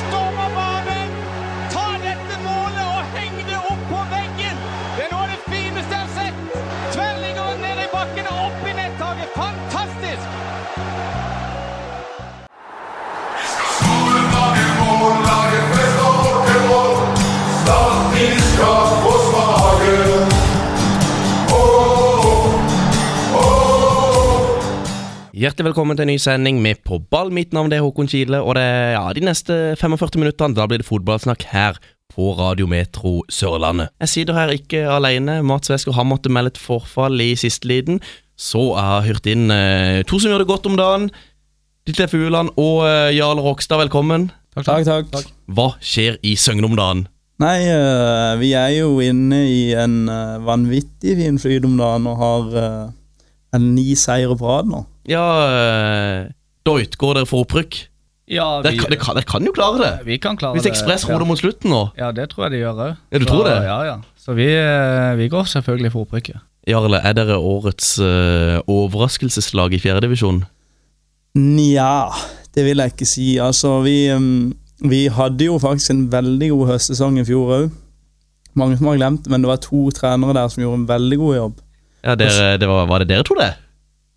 stormer banen! Ta dette målet og heng det opp på veggen! Det er noe av det fineste jeg har sett! Tverrliggeren ned i bakken og opp i nettaket. Fantastisk! Hjertelig velkommen til en ny sending med På ball. Mitt navn det er Håkon Kile, og det, ja, de neste 45 minuttene da blir det fotballsnakk her på Radio Metro Sørlandet. Jeg sitter her ikke alene. Mats Wesker har måttet melde et forfall i siste liten. Så jeg har hørt inn eh, to som gjør det godt om dagen. Ditlev Fugeland og eh, Jarl Rokstad, velkommen. Takk, takk. Hva skjer i Søgne om dagen? Nei, øh, vi er jo inne i en øh, vanvittig fin flyt om dagen og har øh, en ni seire på rad nå. Ja, eh, Doit, går dere for opprykk? Ja, Dere vi, kan, dere kan, dere kan jo klare det. vi kan klare Hvis det. Ekspress roer mot slutten nå. Ja. ja, det tror jeg de gjør òg. Ja, du tror det? Ja, ja. Så vi, eh, vi går selvfølgelig for opprykket. Jarle, er dere årets eh, overraskelseslag i fjerdedivisjon? Nja, det vil jeg ikke si. Altså, vi, øhm, vi hadde jo faktisk en veldig god høstsesong i fjor òg. Mange som har glemt det, men det var to trenere der som gjorde en veldig god jobb. Ja, dere, det var, var det dere to, det?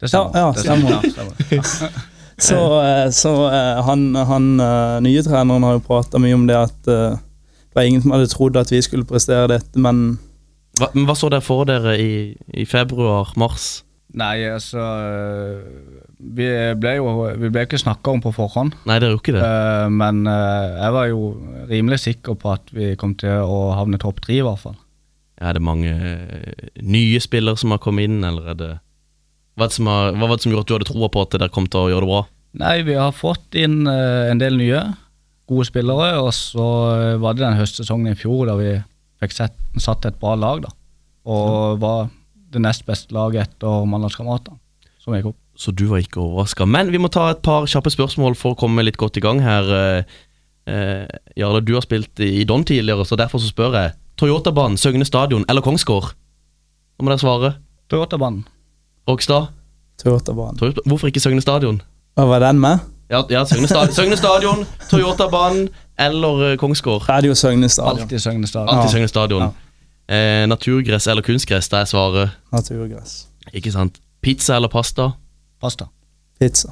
Det Ja, ja, Det stemmer. Ja, stemmer. Så, eh, så eh, han, han eh, nye treneren har jo prata mye om det at eh, det var ingen som hadde trodd at vi skulle prestere dette, men Hva, men hva så dere for dere i, i februar, mars? Nei, altså eh, Vi ble jo vi ble ikke snakka om på forhånd, Nei, dere er jo ikke det. eh, men eh, jeg var jo rimelig sikker på at vi kom til å havne topp tre, i hvert fall. Er det mange eh, nye spillere som har kommet inn, eller er det hva, er det som har, hva var det som gjorde at du hadde troa på at dere kom til å gjøre det bra? Nei, vi har fått inn eh, en del nye gode spillere, og så eh, var det den høstsesongen i fjor da vi fikk sett, satt et bra lag, da. Og var det nest beste laget etter Mandalskameratene, som gikk opp. Så du var ikke overraska. Men vi må ta et par kjappe spørsmål for å komme litt godt i gang her. eh, eh, Jarle, du har spilt i Don tidligere, så derfor så spør jeg. Toyotabanen, Søgne stadion eller Kongsgård? Nå må dere svare. Toyotabanen. Rogstad, Toyota-banen Toyota- hvorfor ikke Søgne stadion? Hva var den med? Ja, ja Søgne, sta Søgne stadion, Toyotabanen eller eh, Kongsgård. Radio Søgne stadion. Alltid Søgne Stadion. Alltid Ja. Søgne stadion. Eh, naturgress eller kunstgress, der er svaret. Naturgress. Ikke sant. Pizza eller pasta? Pasta. Pizza.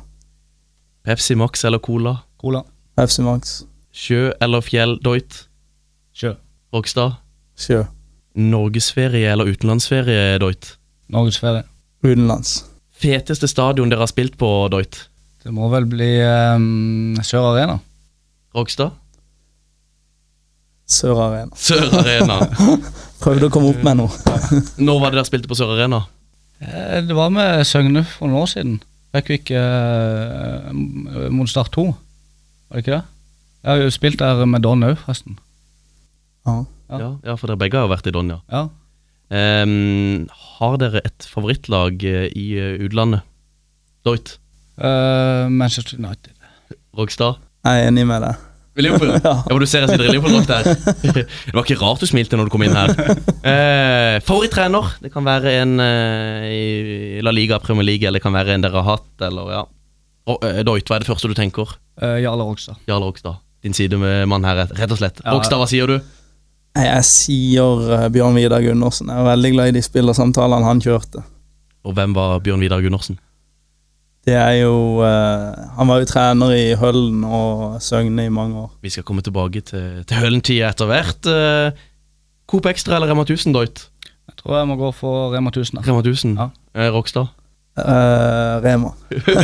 Pepsi Max eller Cola? Cola. FC Max. Sjø eller fjell? Doit? Sjø. Rogstad? Sjø. Norgesferie eller utenlandsferie, Doit? Norgesferie. Utenlands. Feteste stadion dere har spilt på, Doit? Det må vel bli ehm, Sør Arena. Rogstad? Sør Arena. Sør Arena. Prøvde å komme opp med noe. Når var det dere spilte på Sør Arena? Eh, Det var med Søgne for noen år siden. Fikk vi ikke eh, mot Start 2, var det ikke det? Jeg har jo spilt der med Don òg, forresten. Ja. Ja. Ja, ja for dere begge har jo vært i Donja. Ja. Ehm, har dere et favorittlag eh, i eh, utlandet? Doit? Eh, Manchester United. Rogstad? Jeg er enig med deg. Liverpool? Ja. Ja, men du ser jeg sitter i Liverpool-drakt her. Det var ikke rart du smilte når du kom inn her. Eh, favorittrener? Det kan være en eh, i La Liga, Premier League, eller det kan være en dere har hatt, eller ja. Og, eh, Doit, hva er det første du tenker? Eh, Jarle Rogstad. Jarl Rogstad. Din sidemann her, rett og slett. Ja. Rogstad, hva sier du? Jeg, jeg sier eh, Bjørn Vidar Gundersen. Jeg er veldig glad i de spillersamtalene han kjørte. Og hvem var Bjørn Vidar Gundersen? Det er jo eh, Han var jo trener i Høllen og Søgne i mange år. Vi skal komme tilbake til, til Hølentida etter hvert. Eh, Coop Extra eller Rema 1000, Doit? Jeg tror jeg må gå for Rema 1000. da. Rema 1000. Ja. Eh, Rogstad. Eh, Rema.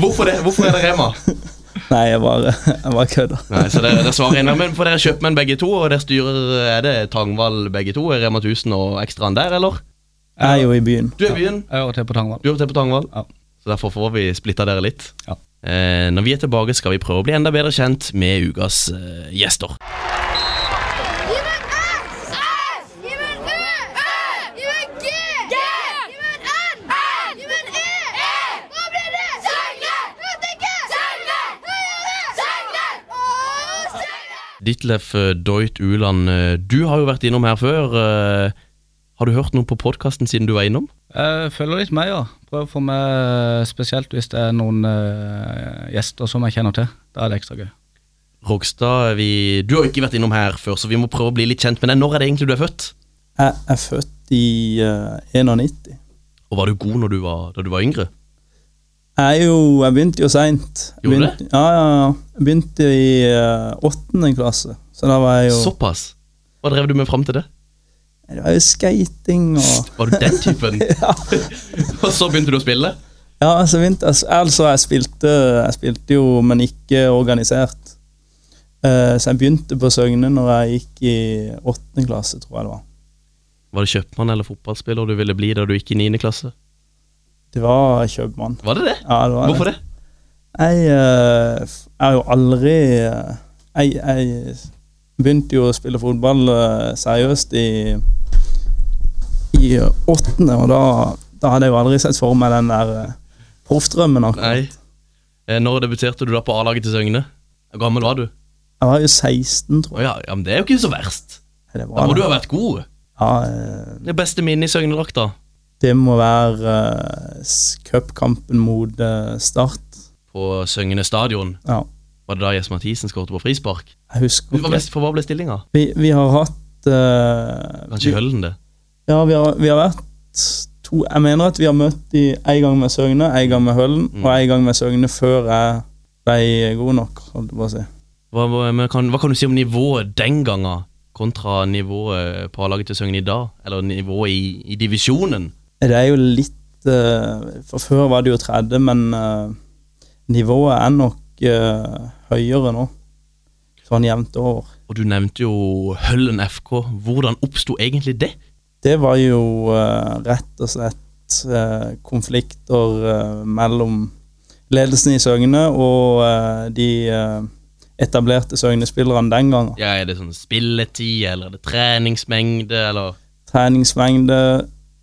Hvorfor det? Hvorfor er det Rema? Nei, jeg bare, jeg bare kødder. Nei, så dere, dere svarer inn, men For dere er kjøpmenn begge to, og dere styrer er det Tangvall begge to? Er Rema 1000 og ekstraen der, eller? Jeg er jo i byen. Du er i byen, Jeg hører til på Tangvall. du er til på Tangvall. Ja. Så derfor får vi splitta dere litt. Ja. Eh, når vi er tilbake, skal vi prøve å bli enda bedre kjent med ukas eh, gjester. You meant us! Us! You meant us! Us! You meant get! Get! You meant un! Un! You meant it! It! Hva blir det? Søgne! Utenke! Søgne! Søgne! Å, Søgne! Ditlef eh, Doit Uland, eh, du har jo vært innom her før. eh, Har du hørt noe på podkasten siden du var innom? Jeg følger litt med, ja. Prøver å få med eh, spesielt hvis det er noen eh, gjester som jeg kjenner til. Da er det ekstra gøy. Rogstad, vi, du har jo ikke vært innom her før, så vi må prøve å bli litt kjent med deg. Når er det egentlig du er født? Jeg er født i eh, 91. Og var du god når du var, da du var yngre? Jeg, er jo, jeg begynte jo seint. Gjorde du Ja, ja, ja. Jeg begynte i eh, åttende klasse. Så da var jeg jo Såpass? Hva drev du med fram til det? Det var jo skating og Var du den typen? og så begynte du å spille? Ja, altså, vinter, altså jeg, spilte, jeg spilte jo, men ikke organisert. Eh, så jeg begynte på Søgne når jeg gikk i åttende klasse, tror jeg det var. Var det kjøpmann eller fotballspiller du ville bli da du gikk i 9. klasse? Det var kjøpmann. Var det det? Ja, det var Hvorfor det? Jeg eh, f- jeg har jo aldri eh, jeg, jeg begynte jo å spille fotball eh, seriøst i i åttende, og da, da hadde jeg jo aldri sett for meg den der eh, proffdrømmen. akkurat. Nei. Eh, Når debuterte du da på A-laget til Søgne? Hvor gammel var du? Jeg var jo 16, tror Å jeg. ja, ja, men det er jo ikke så verst. Nei, Det, Da var må du det. ha vært god. Ja, eh, Det beste minnet i Søgne-drakt, da? det må være eh, s- cupkampen mot eh, Start. På Søgne stadion. Ja, Var det da Jesper Mathisen skåret på frispark? jeg husker Hva ble, for hva ble stillinga? Vi, vi har hatt eh, Kanskje Høllen, det? Ja, vi har, vi har vært to Jeg mener at vi har møtt de en gang med Søgne, en gang med Høllen og en gang med Søgne før jeg ble god nok, holdt jeg på å si. Hva, hva, men kan, hva kan du si om nivået den gangen kontra nivået på A-laget til Søgne i dag? Eller nivået i, i divisjonen? Det er jo litt eh, For før var det jo tredje, men eh, nivået er nok eh, høyere nå. Sånn jevnt over. Og du nevnte jo Høllen FK. Hvordan oppsto egentlig det? Det var jo eh, rett og slett eh, konflikter eh, mellom ledelsen i Søgne og eh, de eh, etablerte Søgne-spillerne den gangen. Ja, Er det sånn spilletid, eller er det treningsmengde, eller treningsmengde,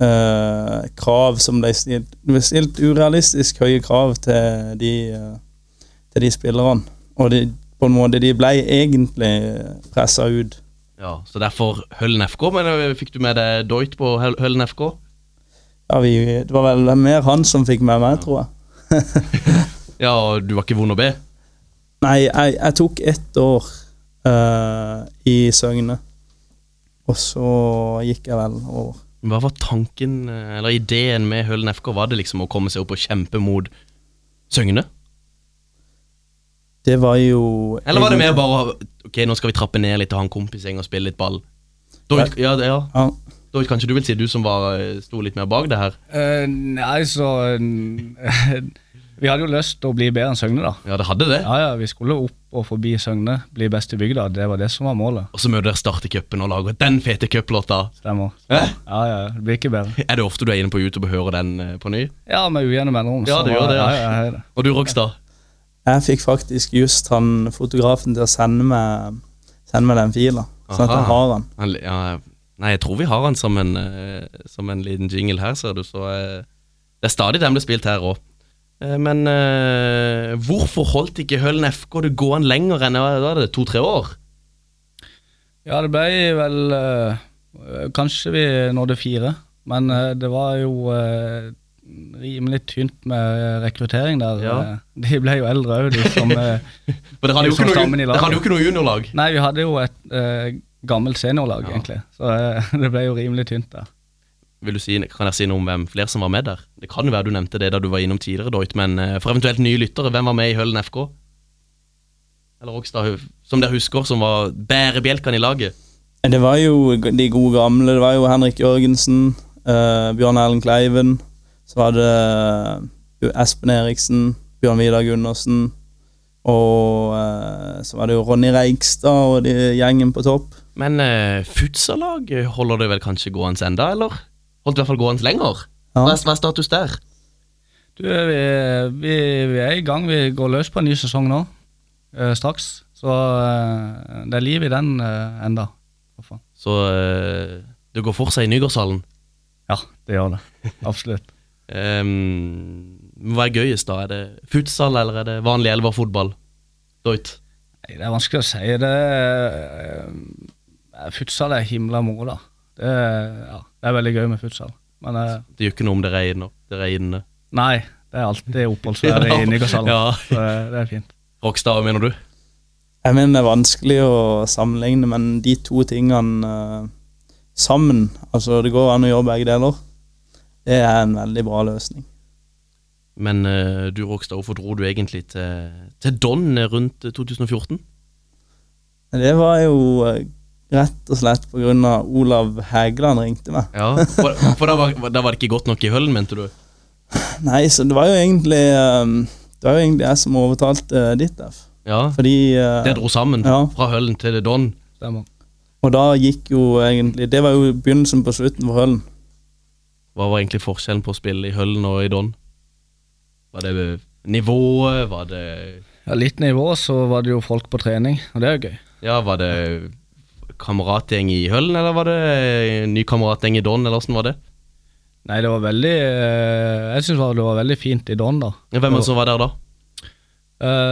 eh, krav som ble stilt Det ble stilt urealistisk høye krav til de, eh, til de spillerne. Og de, på en måte, de ble egentlig pressa ut. Ja, Så derfor Høllen FK. Men eh, fikk du med deg Doit på Høl- Høllen FK? Ja, vi, det var vel mer han som fikk med meg, tror jeg. Ja, og du var ikke vond å be? Nei, jeg, jeg tok ett år eh, i Søgne. Og så gikk jeg vel over. Hva var tanken, eh, eller ideen med Hølen FK? Var det liksom å komme seg opp og kjempe mot Søgne? Det var jo Eller var det mer bare å- Ok, nå skal vi trappe ned litt og ha en kompis i gjeng og spille litt ball? Doit, ja, det- ja. Ja. Doit, kanskje du vil si, du som var, eh, sto litt mer bak det her? Eh, nei, så eh, Vi hadde jo lyst til å bli bedre enn Søgne, da. Ja, det hadde det. Ja, ja, Vi skulle opp og forbi Søgne, bli best i bygda. Det var det som var målet. Og så møter dere starte cupen og lager den fete cuplåta. Stemmer. Eh? Ja, ja, Det blir ikke bedre. Er det ofte du er inne på YouTube og hører den eh, på ny? Ja, med ujevne mellomrom. Ja, så- det gjør det, ja. Ja, ja, ja, ja. Og du, Rogstad? Jeg fikk faktisk just han fotografen til å sende meg, sende meg den fila, sånn at Aha. jeg har den. Han, li- ja, nei, jeg tror vi har han som en, eh, som en liten jingle her, ser du. Så eh, det er stadig den blir spilt her òg. Men eh, hvorfor holdt ikke Hølen FK det gående lenger enn eh, da er det to-tre år? Ja, det ble vel eh, Kanskje vi nådde fire, men eh, det var jo eh, rimelig tynt med rekruttering der. Ja. Eh, De ble jo eldre òg, de som eh, For dere hadde jo Som ikke noe, stammen i laget. dere hadde jo ikke noe juniorlag. Nei, vi hadde jo et eh, gammelt seniorlag, Ja. egentlig, så eh, det ble jo rimelig tynt der. Vil du si, kan dere si noe om hvem flere som var med der? Det kan jo være du nevnte det da du var innom tidligere, Doit, men eh, for eventuelt nye lyttere, hvem var med i Hølen FK? Eller Rogstad, som dere husker, som var bærebjelkene i laget? Det var jo de gode gamle. Det var jo Henrik Jørgensen, eh, Bjørn Erlend Kleiven. Så var det eh, jo Espen Eriksen, Bjørn Vidar Gundersen. Og eh, så var det jo Ronny Reigstad og de gjengen på topp. Men uh, futsalag holder det vel kanskje gående enda, eller? Holdt i hvert fall gående lenger. Ja. Hva, er, hva er status der? Du, eh, vi, vi, vi er i gang. Vi går løs på en ny sesong nå, eh, straks. Så eh, det er liv i den eh, enda. Hva faen? Så eh, det går for seg i Nygårdshallen. Ja, det gjør det. Absolutt. Ehm, hva er gøyest da? Er det futsal, eller er det vanlig elverfotball? Doit. Nei, det er vanskelig å si. Det eh, Futsal er himla moro, da. Det, er- ja, det er veldig gøy med futsal. Men eh, Det gjør ikke noe om det regner. Det regner. nei, det er alltid oppholdsvær i Nygaardshallen. Ja. Så eh, det er fint. Rockstad, hva mener du? Jeg mener det er vanskelig å sammenligne, men de to tingene eh, sammen Altså, det går an å gjøre begge deler. Det er en veldig bra løsning. Men eh, du, Rockstad, hvorfor dro du egentlig til, til Don rundt eh, 2014? Men Det var jo eh, rett og slett på grunn av Olav Hægeland ringte meg. Ja, For, for da, var, da var det ikke godt nok i høllen, mente du? Nei, så det var jo egentlig eh, Det var jo egentlig jeg som overtalte eh, ditt F. Ja, Fordi eh, Dere dro sammen Ja. fra høllen til Don. Stemmer. Og da gikk jo egentlig Det var jo begynnelsen på slutten for Hølen. Hva var egentlig forskjellen på å spille i høllen og i Don? Var det nivået? Var det Ja, litt nivå, så var det jo folk på trening, og det er jo gøy. Ja, var det kameratgjeng i høllen, eller var det ny kameratgjeng i Don, eller åssen var det? Nei, det var veldig eh, Jeg syns det var veldig fint i Don, da. Ja, Hvem er det som var der da?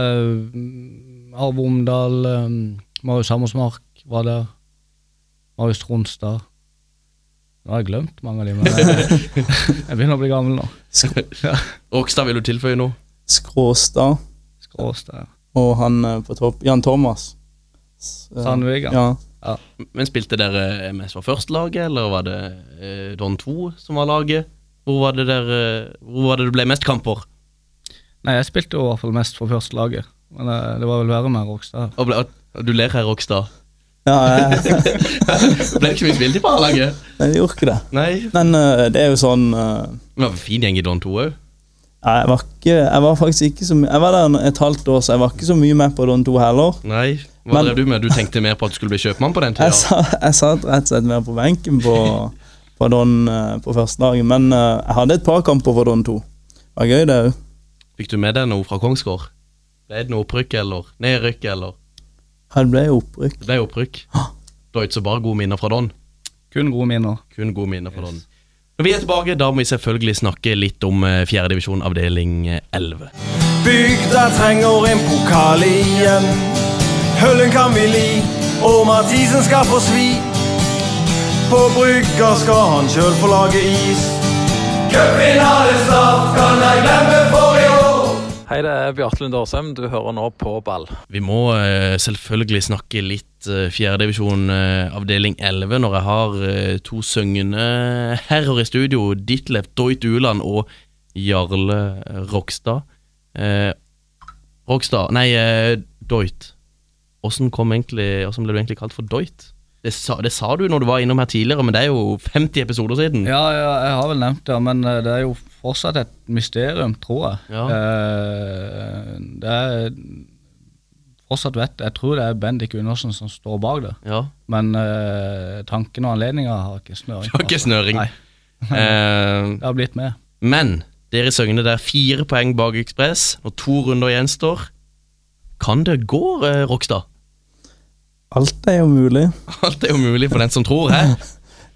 Eh, Arve Omdal, eh, Marius Hammersmark var der. Marius Tronstad. Nå har jeg glemt mange av de, men jeg, jeg begynner å bli gammel nå. Rokstad, vil du tilføye noe? Skråstad Skråstad. og han eh, på topp Jan Thomas. S- eh, Sandvik, ja. Ja. Men spilte dere MS var førstelaget, eller var det eh, Don 2 som var laget? Hvor var det der, eh, hvor var det du ble mest kamper? Nei, jeg spilte jo i hvert fall mest for første laget, men eh, det var vel verre med Rokstad. Og ble, og du ler her, Rokstad. ja jeg, Ble det ikke mye spilt i A-laget? jeg gjorde ikke det. Nei. Men eh, det er jo sånn eh, Det var en fin gjeng i Don 2 òg. Jeg var, ikke, jeg var faktisk ikke så mye Jeg var der en- et halvt år, så jeg var ikke så mye med på de to heller. Nei. Hva Men- drev du med? Du tenkte mer på at du skulle bli kjøpmann på den tida? Jeg, sa, jeg satt rett og slett mer på benken på, på Don eh, på første dagen, men eh, jeg hadde et par kamper for Don 2. Det var gøy, det òg. Fikk du med deg noe fra Kongsgård? Ble det noe opprykk eller nedrykk eller Det ble jo opprykk. Det ble opprykk. Da er det ikke så bare gode minner fra Don. Kun gode minner. Kun gode minner fra Don. Når vi er tilbake, da må vi selvfølgelig snakke litt om eh, fjerde divisjon avdeling eh, 11. Bygda trenger en pokal igjen. Høllen kan vi li, og Mathisen skal få svi. På brygga skal han sjøl få lage is. Cupfinale snart, kan jeg glemme for i år. Hei, det er Bjarte Lund Årsheim. Du hører nå på ball. Vi må eh, selvfølgelig snakke litt eh, fjerde divisjon eh, avdeling 11 når jeg har eh, to syngende herrer i studio, Ditlev Doit Uland og Jarle Rokstad. Eh, Rokstad Nei, eh, Doit. Åssen kom egentlig- åssen ble du egentlig kalt for Doit? Det sa, det sa du når du var innom her tidligere, men det er jo 50 episoder siden. Ja, ja, jeg har vel nevnt det, men eh, det er jo fortsatt et mysterium, tror jeg. Ja. Eh, det er fortsatt vet Jeg tror det er Bendik Undersen som står bak det, Ja. men eh, tanken og anledninga har ikke snøring. Det var ikke snøring. Nei, Eh, det har blitt med. Men dere i Søgne, det er fire poeng bak Ekspress, og to runder gjenstår. Kan det gå, eh, Rokstad? Alt er jo mulig. Alt er jo mulig for den som tror, hæ?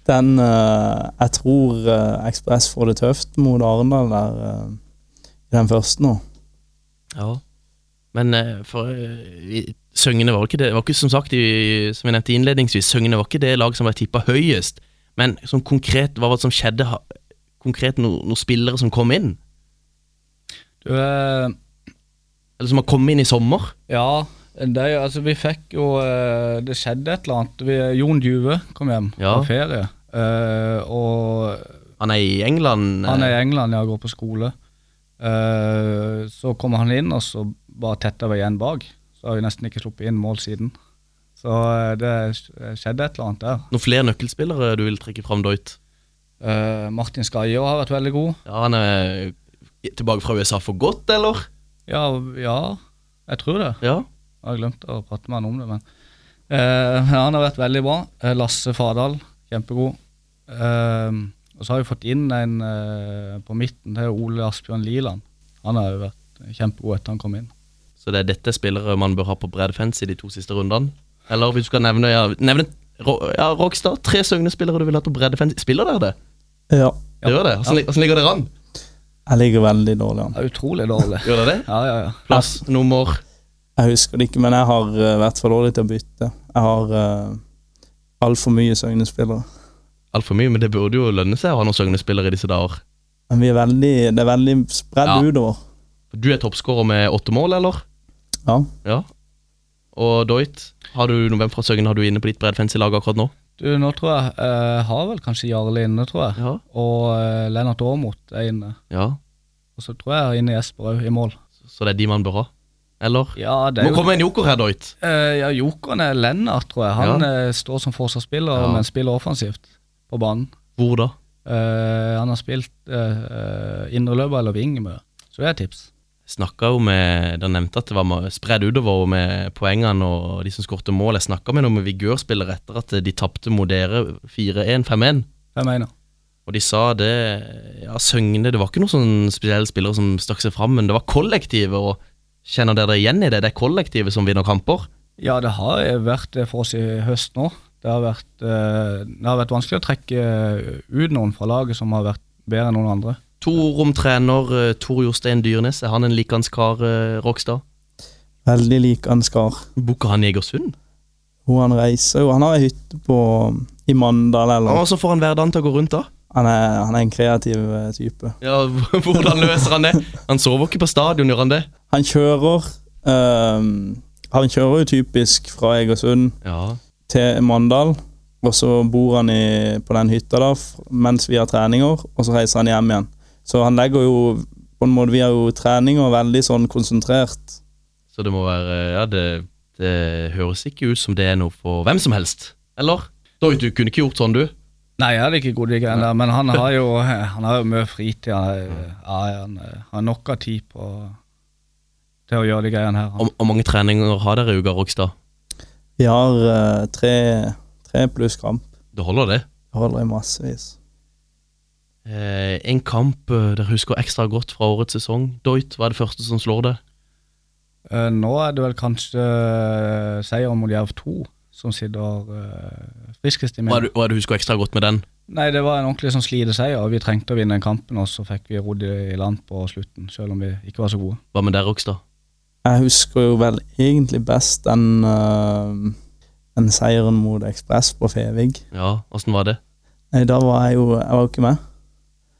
Den eh, Jeg tror eh, Ekspress får det tøft mot Arendal der eh, i den første nå. Ja. Men eh, for eh, i- Søgne var ikke det var ikke som sagt, i, som jeg nevnte innledningsvis, Søgne var ikke det lag som ble tippa høyest. Men som konkret, hva var det som skjedde? Ha- Konkret no, noen spillere som kom inn? Du, eh, Eller som har kommet inn i sommer? ja, det, er jo- altså vi fikk jo eh, Det skjedde et eller annet. Vi, Jon Djuve kom hjem Ja. på ferie, eh, og Han er i England. eh, Han er i England, ja, går på skole. Eh, så kommer han inn, og så bare tetter vi igjen bak. Så har vi nesten ikke sluppet inn mål siden. Så eh, det skjedde et eller annet der. Noen flere nøkkelspillere du vil trekke fram, Doit? Eh, Martin Skaie har vært veldig god. Ja, han er tilbake fra USA for godt, eller? Ja, ja jeg tror det. Ja. Jeg har glemt å prate med han om det, men eh, Han har vært veldig bra. Eh, Lasse Fardal, kjempegod. Eh, og så har vi fått inn en eh, på midten, det er Ole Asbjørn Liland. Han har jo vært kjempegod etter han kom inn. Så det er dette spillere man bør ha på bred fence i de to siste rundene? Eller hvis du skal nevne, ja, nevne Ro- ja, Rockstad, tre Søgne-spillere du vil ha på bred fence. Spiller dere det? Ja. Det gjør det. Hvordan, hvordan ligger dere an? Jeg ligger veldig dårlig an. Det er utrolig dårlig. Gjør dere det? Ja, ja, ja. Plass, nummer Jeg husker det ikke, men jeg eh, har eh, vært for dårlig til å bytte. Jeg har uh, altfor mye Søgne-spillere. altfor mye, men det burde jo lønne seg å ha noen Søgne-spillere i disse dager. Men vi er veldig, det er veldig spredd Ja. utover. Du er toppskårer med åtte mål, eller? Ja. Ja. Og Doit, har du noen hvem fra Søgne har du inne på ditt bredfens i laget akkurat nå? Du, nå tror jeg eh, har vel kanskje Jarle inne, tror jeg. Ja. Og eh, Lennart Aamodt er inne. ja. Og så tror jeg jeg har inne Jesper òg, i mål. Så det er de man bør ha? Eller? Ja, det Må er jo komme en joker her, Doit. Eh, Ja, jokeren er Lennart, tror jeg. Han eh, står som forsvarsspiller, Ja. men spiller offensivt på banen. Hvor da? Eh, han har spilt uh, indreløper eller wing mye, så det er et tips. Snakka jo med Den nevnte at det var ma- spredd utover og med poengene og de som skårte mål. Jeg snakka med noen vigørspillere etter at de tapte mot dere 4-1-5-1. Hvem mener? Og de sa det Ja, Søgne Det var ikke noen sånn spesielle spillere som stakk seg fram, men det var kollektivet. Og kjenner dere dere igjen i det? Det er kollektivet som vinner kamper? Ja, det har vært det for oss i høst nå. Det har vært, eh, det har vært vanskelig å trekke eh, ut noen fra laget som har vært bedre enn noen andre. Torom trener eh, Tor Jostein Dyrnes. Er han en likende kar, eh, Rokstad? Veldig lik Ansgar. Booker han i Egersund? Hun han reiser jo, han har ei hytte på i Mandal eller Og så får han hverdagen til å gå rundt, da. han er, han er en kreativ eh, type. Ja, Hvordan løser han det? Han sover ikke på stadion, gjør han det? Han kjører ehm, Han kjører jo typisk fra Egersund Ja, til Mandal, og så bor han i, på den hytta da f- mens vi har treninger, og så reiser han hjem igjen. Så han legger jo på en måte, Vi har jo treninger veldig sånn konsentrert. Så det må være Ja, det, det høres ikke ut som det er noe for hvem som helst. Eller? Da, du kunne ikke gjort sånn, du. Nei, jeg hadde ikke god digg ennå, men han har jo, han har jo mye fritid. Han, er- ja, han eh, har nok av tid på, til å gjøre de greiene her. Han, Hvor hvor mange treninger har dere i uka, Rogstad? Vi har eh, tre, tre pluss kamp. Det holder, det. Det holder i massevis. Eh, en kamp eh, dere husker ekstra godt fra årets sesong. Doit, hva er det første som slår det? Eh, nå er det vel kanskje eh, seieren mot Jerv 2 som sitter eh, friskest i Hva meg. er, det, hva er det du husker ekstra godt med den? Nei, det var en ordentlig sånn slideseier. og Vi trengte å vinne den kampen, og så fikk vi rodd i land på slutten, selv om vi ikke var så gode. Hva med deg, Rogstad? Jeg husker jo vel egentlig best den, eh, den seieren mot Ekspress på Fevig. Ja, åssen var det? Nei, da var jeg jo Jeg var jo ikke med.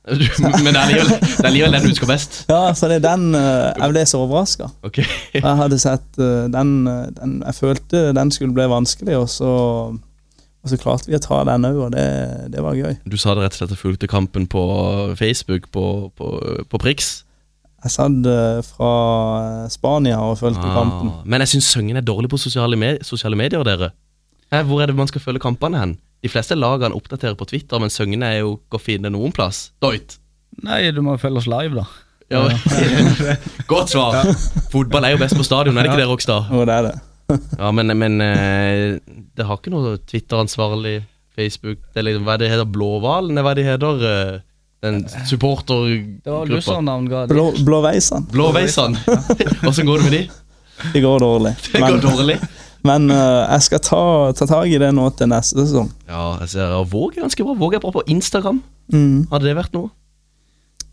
Du, men det er likevel- det er likevel den du husker best. Ja, så det er den eh, Jeg ble så overraska. Ok. Jeg hadde sett eh, den, eh, den Jeg følte den skulle bli vanskelig, og så, og så klarte vi å ta den òg, og det, det var gøy. Du sa det rett og slett og fulgte kampen på Facebook på, på, på Prix. Jeg satt eh, fra eh, Spania og fulgte kampen. Ah, Men jeg syns Søgnen er dårlig på sosiale, me sosiale medier, dere. Hæ, hvor er det man skal følge kampene hen? De fleste lagene oppdaterer på Twitter, men Søgnen er jo ikke å finne noen plass. Doit! Nei, du må jo følge oss live, da. Ja. Godt svar! Fotball er jo best på stadion, er det ikke det, Rogstad? Og det er det. Ja, men, men eh, det har ikke noe Twitter-ansvarlig Facebook det er liksom, Hva er det heter? Blåhvalen? Nei, Hva er det heter? eh, Den Det var supportergruppa? Lussernavn ga Blå, Blåveisene. Blåveisene! Åssen går det med de? Det går dårlig. Det går Men, dårlig. men eh, jeg skal ta, ta tak i det nå til neste sesong. Ja, jeg ser og Våg er ganske bra. Våg er bra på Instagram. Mm. Hadde det vært noe?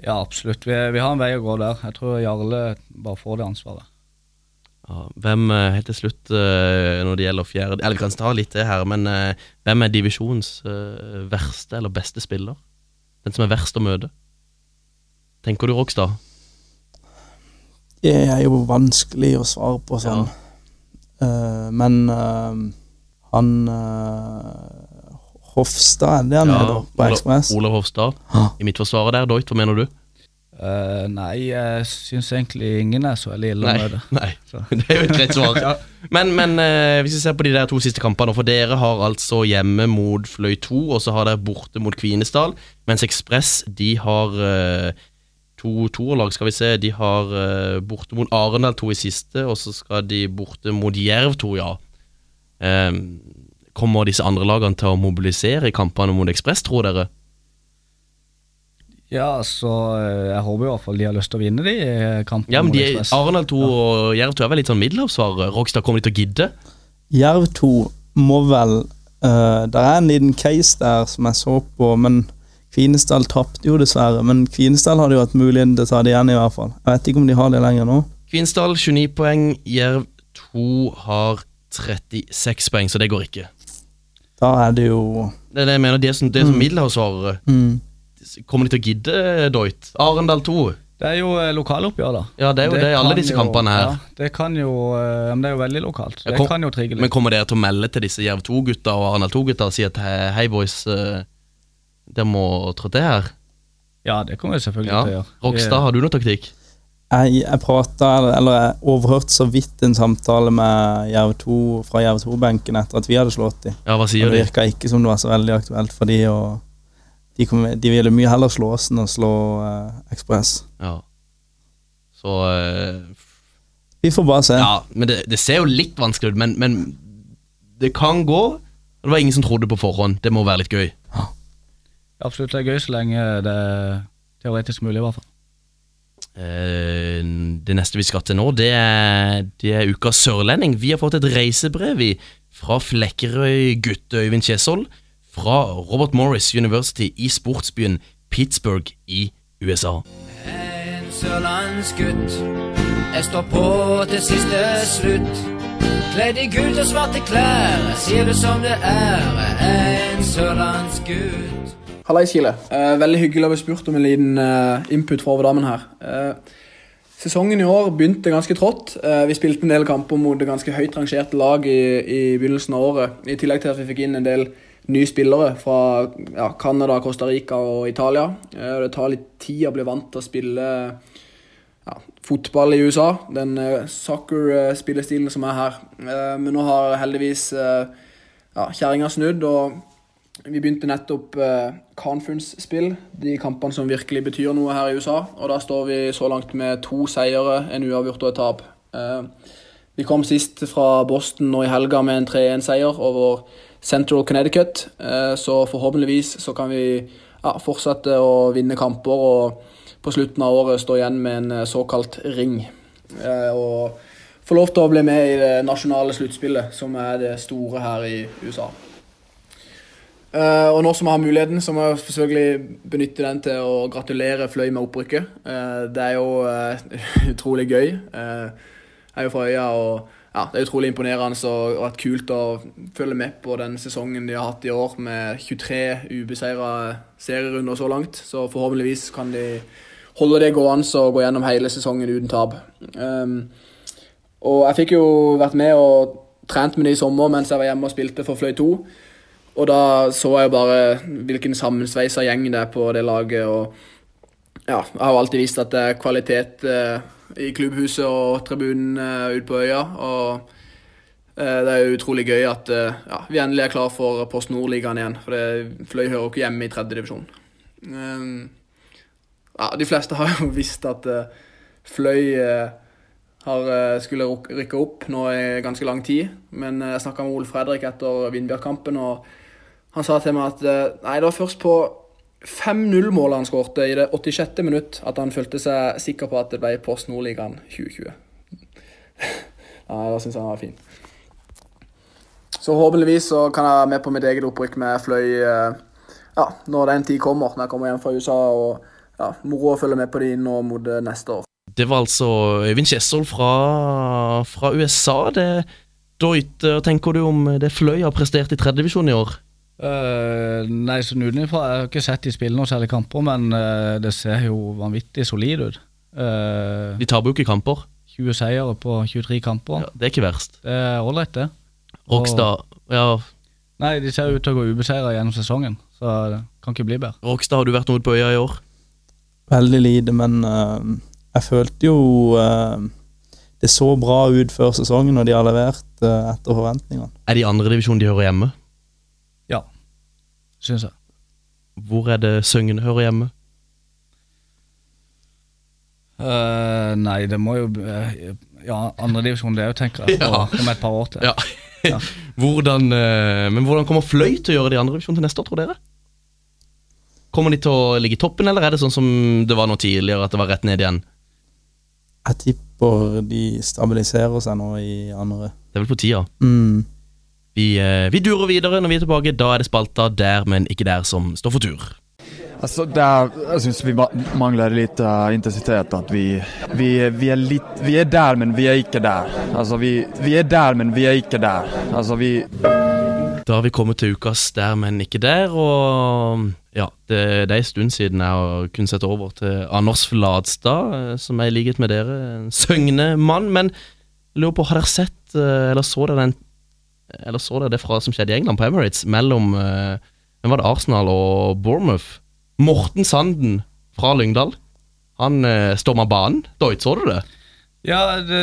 Ja, absolutt. Vi, vi har en vei å gå der. Jeg tror Jarle bare får det ansvaret. Ja, hvem eh, helt til slutt eh, når det gjelder fjerde Eller vi kan ta litt det her, men eh, hvem er divisjonens eh, verste eller beste spiller? Den som er verst å møte? Tenker du Rogstad? Det er jo vanskelig å svare på sånn. Eh, men eh, han eh, Hofstad, er det han Ja, heter? På Ola- Ekspress? Olav Hofstad. Ja. I midtforsvaret der, Doit, hva mener du? Eh, nei, jeg syns egentlig ingen er så veldig ille Nei, med det. nei. det er jo et rett svar. Men, men eh, hvis vi ser på de der to siste kampene, for dere har altså hjemme mot Fløy 2, og så har dere borte mot Kvinesdal, mens Ekspress de har eh, to toerlag, skal vi se. De har eh, borte mot Arendal 2 i siste, og så skal de borte mot Jerv 2, ja. Eh, kommer disse andre lagene til å mobilisere i kampene mot Ekspress, tror dere? Ja, så eh, jeg håper i hvert fall de har lyst til å vinne de eh, kampene. Ja, men mot de, Ekspress. Arendal 2 og Jerv 2 er vel litt sånn middelhavsvarere. Rogstad, kommer de til å gidde? Jerv 2 må vel uh, Det er en liten case der som jeg så på, men Kvinesdal tapte jo dessverre. Men Kvinesdal hadde jo hatt muligheten til å ta det igjen, i hvert fall. Jeg vet ikke om de har det lenger nå. Kvinsdal 29 poeng, Jerv 2 har 36 poeng, så det går ikke. Da er det jo Det er det jeg mener, det som, det som Middelhavs har eh, mm. Kommer de til å gidde, eh, Doit? Arendal 2. Det er jo eh, lokaloppgjør, da. Ja, det er jo det, i alle kan disse jo- kampene her. Ja, det kan jo eh, Men det er jo veldig lokalt. Ja, Det kom- kan jo trigge Men litt. kommer dere til å melde til disse Jerv 2-gutta og Arendal 2-gutta og si at hei, hei boys, eh, dere må trå til her? Ja, det kommer vi selvfølgelig Ja. til å gjøre. Rokstad, har du noe taktikk? Jeg, jeg prata, eller, eller jeg overhørte så vidt en samtale med Jerv 2 fra Jerv 2-benken etter at vi hadde slått dem. Ja, hva Og sier det de? virka ikke som det var så veldig aktuelt for de og de, kom, de ville mye heller slå oss enn å slå eh, Ekspress. Ja. Så eh, Vi får bare se. Ja, men det, det ser jo litt vanskelig ut, men, men det kan gå. Og det var ingen som trodde på forhånd. Det må være litt gøy. Eh, Absolutt det er gøy så lenge det er teoretisk mulig, i hvert fall. Eh, det neste vi skal til nå, det er, det er ukas sørlending. Vi har fått et reisebrev i fra Flekkerøy gutte Øyvind Kjesol fra Robert Morris University i sportsbyen Pittsburgh i USA. En sørlandsgutt. Jeg står på til siste slutt. Kledd i gult og svarte klær, jeg sier det som det er. Jeg er En sørlandsgutt. Hallais, Kile. Eh, veldig hyggelig å bli spurt om en liten eh, input fra overdamen her. Eh, sesongen i år begynte ganske trått. Eh, vi spilte en del kamper mot det ganske høyt rangerte lag i, i begynnelsen av året. I tillegg til at vi fikk inn en del nye spillere fra ja, Canada, Costa Rica og Italia. Eh, og det tar litt tid å bli vant til å spille ja, fotball i USA. Den eh, soccer-spillestilen som er her. Eh, men nå har heldigvis eh, ja, kjerringa snudd. og vi begynte nettopp eh, conference-spill, de kampene som virkelig betyr noe her i USA. Og da står vi så langt med to seire, en uavgjort og et tap. Eh, vi kom sist fra Boston nå i helga med en 3-1-seier over Central Connecticut. Eh, så forhåpentligvis så kan vi ja, fortsette å vinne kamper og på slutten av året stå igjen med en eh, såkalt ring. Eh, og få lov til å bli med i det nasjonale sluttspillet, som er det store her i USA. Eh, og nå som jeg har muligheten, så må jeg selvfølgelig benytte den til å gratulere Fløy med opprykket. Eh, det er jo eh, utrolig gøy. Eh, jeg er jo fra øya, og ja, det er utrolig imponerende og, og vært kult å følge med på den sesongen de har hatt i år, med 23 ubeseira serierunder så langt. Så forhåpentligvis kan de holde det gående og gå gjennom hele sesongen uten tap. Ehm, og jeg fikk jo vært med og trent med de i sommer mens jeg var hjemme og spilte for Fløy 2. Og da så jeg jo bare hvilken sammensveisa gjeng det er på det laget. og ja, Jeg har jo alltid visst at det er kvalitet eh, i klubbhuset og tribunen eh, ute på øya. og eh, Det er jo utrolig gøy at eh, ja, vi endelig er klar for Post Nord-ligaen igjen. For det, Fløy hører jo ikke hjemme i tredje divisjon. Um, ja, de fleste har jo visst at eh, Fløy eh, har eh, skulle ruk- rykke opp nå i ganske lang tid. Men eh, jeg snakka med Ole Fredrik etter Vindbjørg-kampen, og han sa til meg at eh, nei, det var først på 5-0-målet han skårte i det 86. minutt, at han følte seg sikker på at det ble Post Nordligaen 2020. nei, da syns jeg han var fin. Så håpeligvis så kan jeg være med på mitt eget opprykk med Fløy eh, ja, når den tid kommer, når jeg kommer hjem fra USA. og ja, Moro å følge med på de nå mot eh, neste år. Det var altså Øyvind Kjesol fra, fra USA. Det Doit, hva tenker du om det Fløy har prestert i tredjedivisjon i år? Eh, nei, sånn utenfra Jeg har ikke sett de spille noen særlig kamper, men eh, det ser jo vanvittig solid ut. Eh, De taper jo ikke kamper. 20 seire på 23 kamper. Ja, det er ikke verst. Det er ålreit, det. Rokstad, ja, Nei, de ser ut til å gå ubeseira gjennom sesongen, så det kan ikke bli bedre. Rokstad, har du vært noe på øya i år? Veldig lite, men eh, jeg følte jo eh, det så bra ut før sesongen, og de har levert eh, etter forventningene. Er det i andre divisjon de hører hjemme? Ja, syns jeg. Hvor er det Søgne hører hjemme? Eh, nei, det må jo uh, Ja, andredivisjon det òg, tenker jeg, Ja. på, om et par år til. Ja. hvordan, eh, men hvordan kommer Fløy til å gjøre det i andre divisjon til neste år, tror dere? Kommer de til å ligge i toppen, eller er det sånn som det var nå tidligere, at det var rett ned igjen? Jeg tipper de stabiliserer seg nå i andre. Det er vel på tida. Mm. Vi, eh, vi durer videre når vi er tilbake. Da er det spalta der, men ikke der som står for tur. Altså, det er, jeg syns vi ma- mangler litt eh, intensitet. At vi, vi, vi, er litt, vi er der, men vi er ikke der. Altså, vi, vi er der, men vi er ikke der. Altså, vi Da har vi kommet til ukas Der, men ikke der. Og ja, det, det er en stund siden jeg kunne sette over til Anders Fladstad, eh, som er i likhet med dere en søgne mann. Men jeg lurer på, har dere sett, eh, eller så dere den Eller så dere det fra som skjedde i England, på Emirates, mellom eh, hvem var det, Arsenal og Bournemouth? Morten Sanden fra Lyngdal. Han eh, storma banen. Doit, så du det? Ja, det,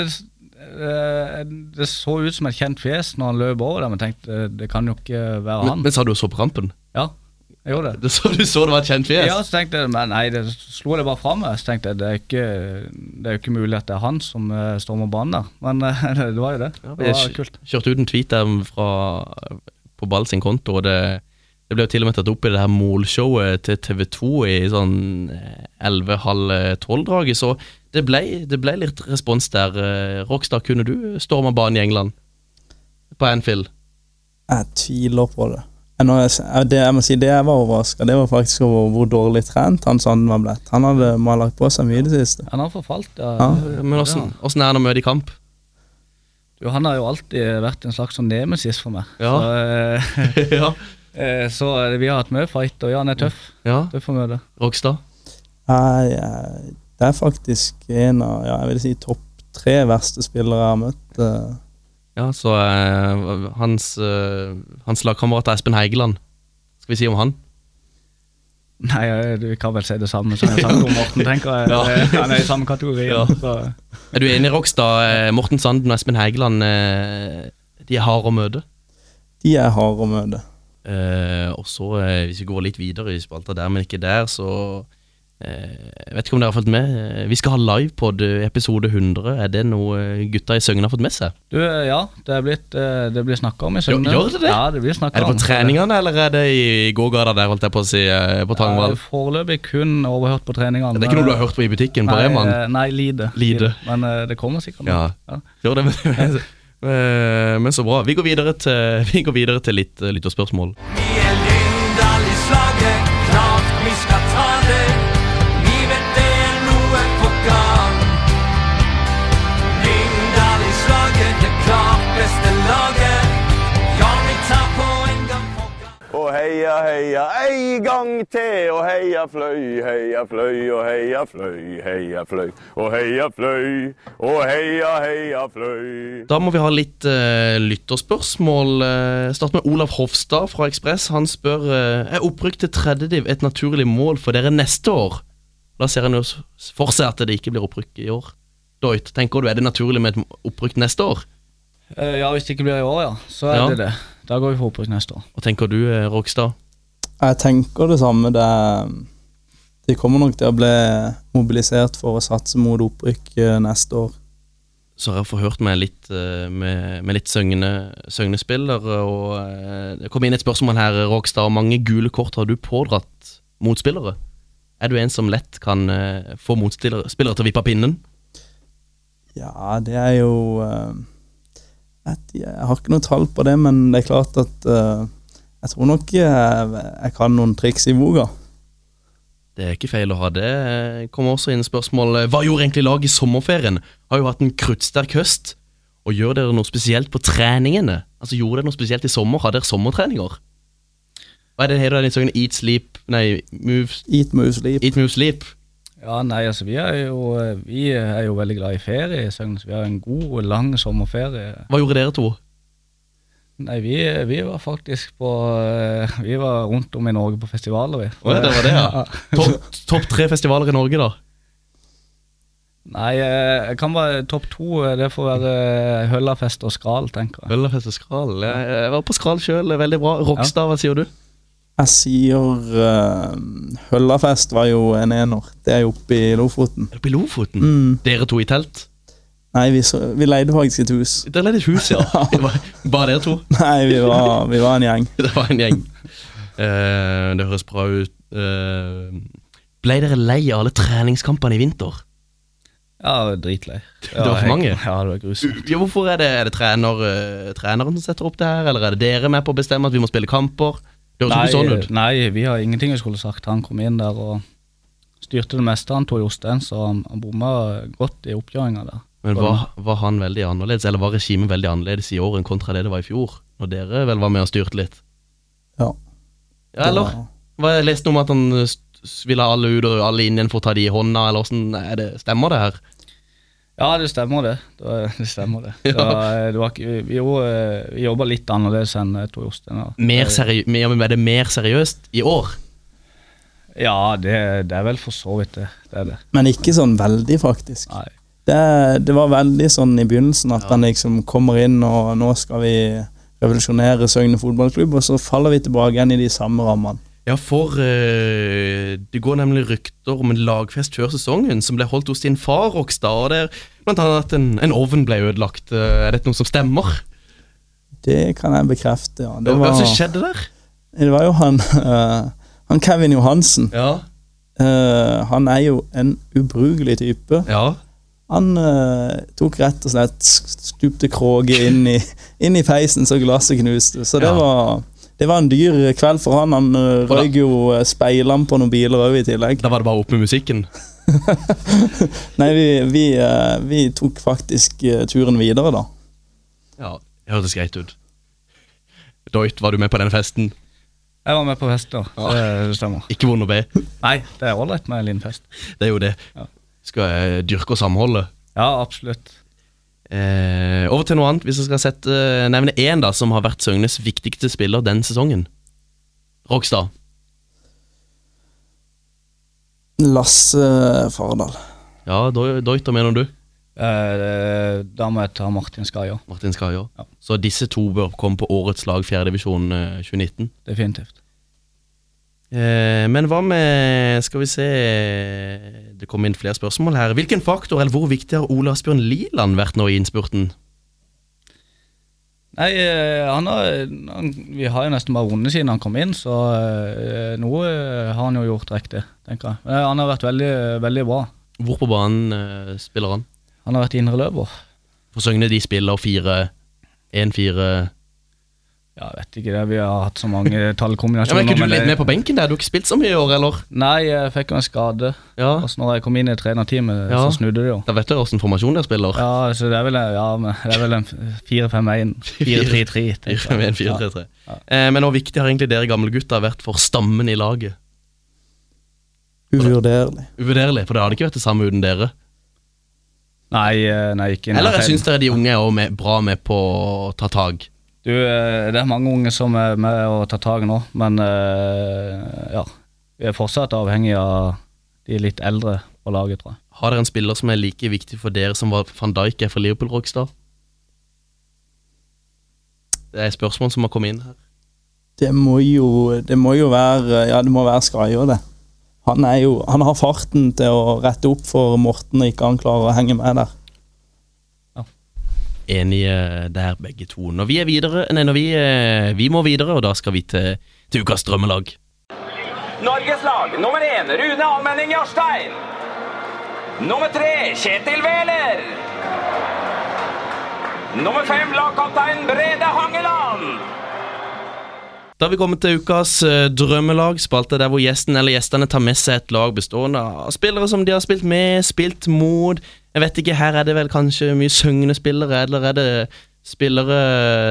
eh, det så ut som et kjent fjes når han løp over der, men tenkte eh, det kan jo ikke være Men, han. men sa du så på rampen? Ja, jeg gjorde det. Det så du så det var et kjent fjes? Ja, så tenkte jeg, men nei, det slo det bare fram. Så tenkte jeg, det er ikke, det er jo ikke mulig at det er han som eh, stormer banen der. Men eh, det var jo det. Det var Jeg kult. kjø- kjørte ut en tweet der fra, på Ball sin konto, og det, det ble jo til og med tatt opp i det her målshowet til TV 2 i sånn 11.30-12-draget, så det ble, det ble litt respons der. Eh, Rockstar, kunne du storma banen i England? På Anfield? Jeg tviler på det. Jeg, nå- jeg, det, jeg må si det jeg var overraska, det var faktisk over hvor dårlig trent han Sanden var blitt. Han hadde må ha lagt på seg mye i det siste. Han har forfalt. Ja. Ja. Men åssen åssen er han å møte i kamp? Jo, han har jo alltid vært en slags sånn nemesis for meg. Ja. Så, eh, Ja. eh, så eh, vi har hatt mye fight, og ja, han er tøff. Ja, Tøff å møte. Rockstar? Nei, jeg- det er faktisk en av ja, jeg vil si topp tre verste spillere jeg har møtt. eh. Ja, så eh, hans, eh, hans lagkamerat er Espen Heigeland, skal vi si om han? Nei, eh, du kan vel si det samme som jeg sa om Morten, tenker jeg. Eh, Han er i samme kategori. Ja. Så. Er du enig, Rokstad? Eh, Morten Sanden og Espen Hægeland eh, de er harde å møte. De er harde å møte. Eh, og så, eh, hvis vi går litt videre i spalta der, men ikke der, så eh, Jeg vet ikke om dere har fått med. eh, Vi skal ha livepod i episode 100. Er det noe eh, gutta i Søgne har fått med seg? Du, eh, ja, det er blitt, eh, det blir snakka om i Jo, Søgne. gjør det det? Ja, det blir snakket Er det om. på treningene, eller er det i gågata der, holdt jeg på å si, eh, på Ja, Tangvall? Foreløpig kun overhørt på treningene. Det er ikke noe du har hørt på i butikken på Nei, Reman? eh, Nei, lite. Lite. Men eh, det kommer sikkert noe. Ja. Gjør det, men, men, Eh, men så bra. Vi går videre til, vi går videre til litt eh, lytterspørsmål. Vi er Lyngdal i slaget, klart vi skal ta det. Vi vet det er noe på gang. Lyngdal i slaget, det klart beste laget. Ja, vi tar poeng gang på Og heia, heia, ei gang til, og heia fløy, heia fløy, og heia fløy, heia fløy, og heia fløy, og heia, heia fløy. Da må vi ha litt eh, lytterspørsmål. Eh, Start med Olav Hofstad fra Ekspress. Han spør eh, Er opprykk til tredjediv et naturlig mål for dere neste år. Da ser han jo s- for seg at det ikke blir opprykk i år. Doit, tenker du er det naturlig med et opprykk neste år? Eh, ja, hvis det ikke blir i år, ja. Så er Ja. det det. Da går vi for opprykk neste år. Hva tenker du, eh, Rogstad? Jeg tenker det samme. Det, de kommer nok til å bli mobilisert for å satse mot opprykk eh, neste år. Så har jeg forhørt meg litt eh, med, med litt søgne, søgnespillere, og eh, det kom inn et spørsmål her, Rogstad. Hvor mange gule kort har du pådratt motspillere? Er du en som lett kan eh, få motspillere spillere til å vippe av pinnen? Ja, det er jo eh, et, Jeg har ikke noe tall på det, men det er klart at eh, jeg tror nok jeg, jeg kan noen triks i boka. Det er ikke feil å ha det. Kommer også inn spørsmål Hva gjorde egentlig laget i sommerferien? Har jo hatt en kruttsterk høst. Og gjør dere noe spesielt på treningene? Altså Gjorde dere noe spesielt i sommer? Har dere sommertreninger? Hva er det heter den sangen? Eat, sleep Nei, move Eat, move, sleep. Eat, move, sleep. Ja, nei, altså vi er jo, vi er jo veldig glad i ferie i Søgne, så vi har en god, lang sommerferie. Hva gjorde dere to? Nei, vi, vi var faktisk på eh, Vi var rundt om i Norge på festivaler, vi. Å ja, det var det, ja. Topp topp tre festivaler i Norge, da. Nei, eh, jeg kan bare topp to. eh, Det får være eh, Høllafest og Skral, tenker jeg. Høllafest og Skral? Jeg, var på Skral sjøl, veldig bra. Rogstad, hva sier du? Jeg sier eh, Høllafest var jo en ener. Det er jo oppe i Lofoten. Oppe i Lofoten? Mm. Dere to i telt? Nei, vi, så, vi leide faktisk et hus. Der leide et hus, ja. Det var- Bare dere to? Nei, vi var, vi var en gjeng. Det var en gjeng. Eh, det høres bra ut. Eh, ble dere lei av alle treningskampene i vinter? Ja, dritlei. Det var for helt- mange. Ja, det var grusomt. Ja, hvorfor Er det, er det trener, eh, treneren som setter opp det her, eller er det dere med på å bestemme at vi må spille kamper? Det høres ikke sånn ut. nei, eh, vi har ingenting vi skulle sagt. Han kom inn der og styrte det meste. Han tok Jostein, så han, han bomma godt i oppkjøringa der. Men var, var han veldig annerledes, eller var regimet veldig annerledes i år enn kontra det det var i fjor? Og dere vel var med og styrte litt? Ja. Ja, eller? Hva- Jeg leste om at han eh, s- ville ha alle ut og alle inn igjen for å ta de i hånda, eller åssen er det? Stemmer det her? Ja, det stemmer det. Det, var- det stemmer det. det, Ja. var, det var, ikke- vi vi, gjorde- vi jobba litt annerledes enn jeg tror Jostein har. Mer seri men ja, men er det mer seriøst i år? Ja, det, det er vel for så vidt det. det, er det. Men ikke sånn veldig, faktisk. Det, det var veldig sånn i begynnelsen at han liksom kommer inn og nå skal vi revolusjonere Søgne fotballklubb, og så faller vi tilbake igjen i de samme rammene. Ja, for eh, det går nemlig rykter om en lagfest før sesongen som ble holdt hos din far Rokstad. og der Blant annet at en, en ovn ble ødelagt. Eh, Er dette noe som stemmer? Det kan jeg bekrefte, ja. Hva var det som skjedde der? Det var jo han, eh, han Kevin Johansen. Eh, han er jo en ubrukelig type. Han eh, tok rett og slett stupte kroge inn i, inn i peisen så glasset knuste. Så det, Ja. var, det var en dyr kveld for han. Han uh, røyk jo eh, speilene på noen biler òg i tillegg. Da var det bare opp med musikken? Nei, vi, vi, eh, vi tok faktisk eh, turen videre, da. Ja, det hørtes greit ut. Doit, var du med på den festen? Jeg var med på fest, da. Det, det stemmer. Ikke vond å be. Nei, det er ålreit med en liten fest. Det er jo det. Skal jeg dyrke og samholde? Ja, absolutt. Eh, over til noe annet, hvis jeg skal sette, eh, nevne én da, som har vært Søgnes viktigste spiller den sesongen. Rokstad. Lasse eh, Fardal. Ja, Doit, Doit, hva mener du? Eh, Da må jeg ta Martin Skaja. Martin Skaja. Så disse to bør komme på årets lag eh, fjerdedivisjon 2019. Definitivt. Eh, men hva med Skal vi se Det kom inn flere spørsmål her. Hvilken faktor eller hvor viktig har Ole Asbjørn Liland vært nå i innspurten? Nei, eh, han har, han, vi har jo nesten bare vunnet siden han kom inn, så eh, noe eh, har han jo gjort riktig, tenker jeg. Men han har vært veldig, veldig bra. Hvor på banen eh, spiller han? Han har vært indreløper. For Søgne de spiller 4-1-4 Ja, jeg vet ikke det, vi har hatt så mange ja, tallkombinasjoner. men Er ikke du men litt det- med på benken der? Du har ikke spilt så mye i år, eller? Nei, jeg fikk jo en skade. Ja. Og så når jeg kom inn i trenerteamet, Ja. så snudde det jo. Da vet du åssen formasjon dere spiller. Ja, så det er vel, ja, men det er vel en 4-5-1, 4-3-3. tenker jeg. 4-1-4-3. Eh, men hvor viktig har egentlig dere gamle gutter vært for stammen i laget? Uvurderlig. Uvurderlig, for det hadde ikke vært det samme uten dere. Nei, eh, nei, ikke Eller jeg syns dere de unge er også med, bra med på å ta tak. Du, eh, det er mange unge som er med og tar tak nå, men eh, ja. Vi er fortsatt avhengig av de litt eldre på laget, tror jeg. Har dere en spiller som er like viktig for dere som var van Dijk er for Liverpool Rockstad? Det er spørsmål som har kommet inn her. Det må jo, det må jo være Ja, det må være Skaja, det. Han, er jo, han har farten til å rette opp for Morten, og ikke han klarer å henge med der. Enige der, begge to. Når vi er videre Nei, når vi, eh, vi må videre, og da skal vi til, til ukas drømmelag. Norges lag nummer én Rune Almenning Jarstein. Nummer tre Kjetil Wæler. Nummer fem lagkaptein Brede Hangeland. Da har vi kommet til ukas eh, drømmelag, spalte der hvor gjesten eller gjestene tar med seg et lag bestående av spillere som de har spilt med, spilt mot. Jeg vet ikke, her er det vel kanskje mye søgne spillere, eller er det spillere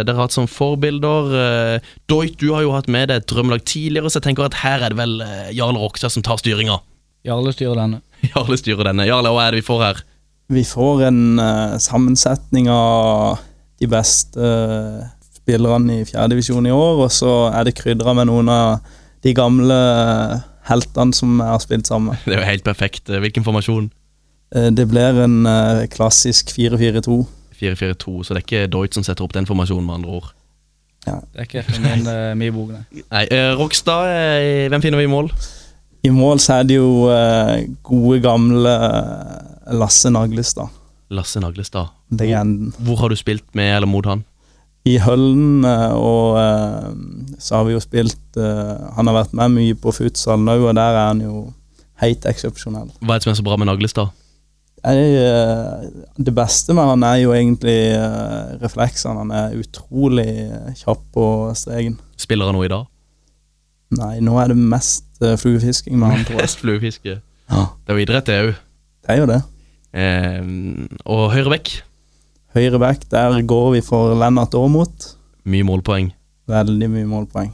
dere har hatt som forbilder? Eh, Doit, du har jo hatt med deg et drømmelag tidligere, så jeg tenker at her er det vel eh, Jarl Rokstad som tar styringa. Jarle styrer denne. Jarle styrer denne. Jarle, hva er det vi får her? Vi får en eh, sammensetning av de beste eh, spillerne i fjerdedivisjon i år, og så er det krydra med noen av de gamle eh, heltene som jeg har spilt sammen med. Det er jo helt perfekt. Eh, Hvilken formasjon? Eh, det blir en eh, klassisk 4-4-2. 4-4-2, så det er ikke Doit som setter opp den formasjonen, med andre ord. Det er ikke for min, eh, min bok, nei. Nei, eh, Rokstad, eh, hvem finner vi i mål? I mål så er det jo eh, gode, gamle eh, Lasse Naglestad. Lasse Naglestad. Legenden. Hvor har du spilt med eller mot han? I Høllen, eh, og eh, så har vi jo spilt eh, Han har vært med mye på futsal nå, og der er han jo helt eksepsjonell. Hva er det som er så bra med Naglestad? Jeg, eh, det beste med han er jo egentlig eh, refleksene. Han er utrolig eh, kjapp på streken. Spiller han noe i dag? Nei, nå er det mest eh, fluefisking med han, tror jeg. Mest fluefiske. Det er jo idrett, det òg. Det er jo det. Eh, og høyrebekk. Høyre back, der går vi for Lennart Aamodt. Mye målpoeng. Veldig mye målpoeng.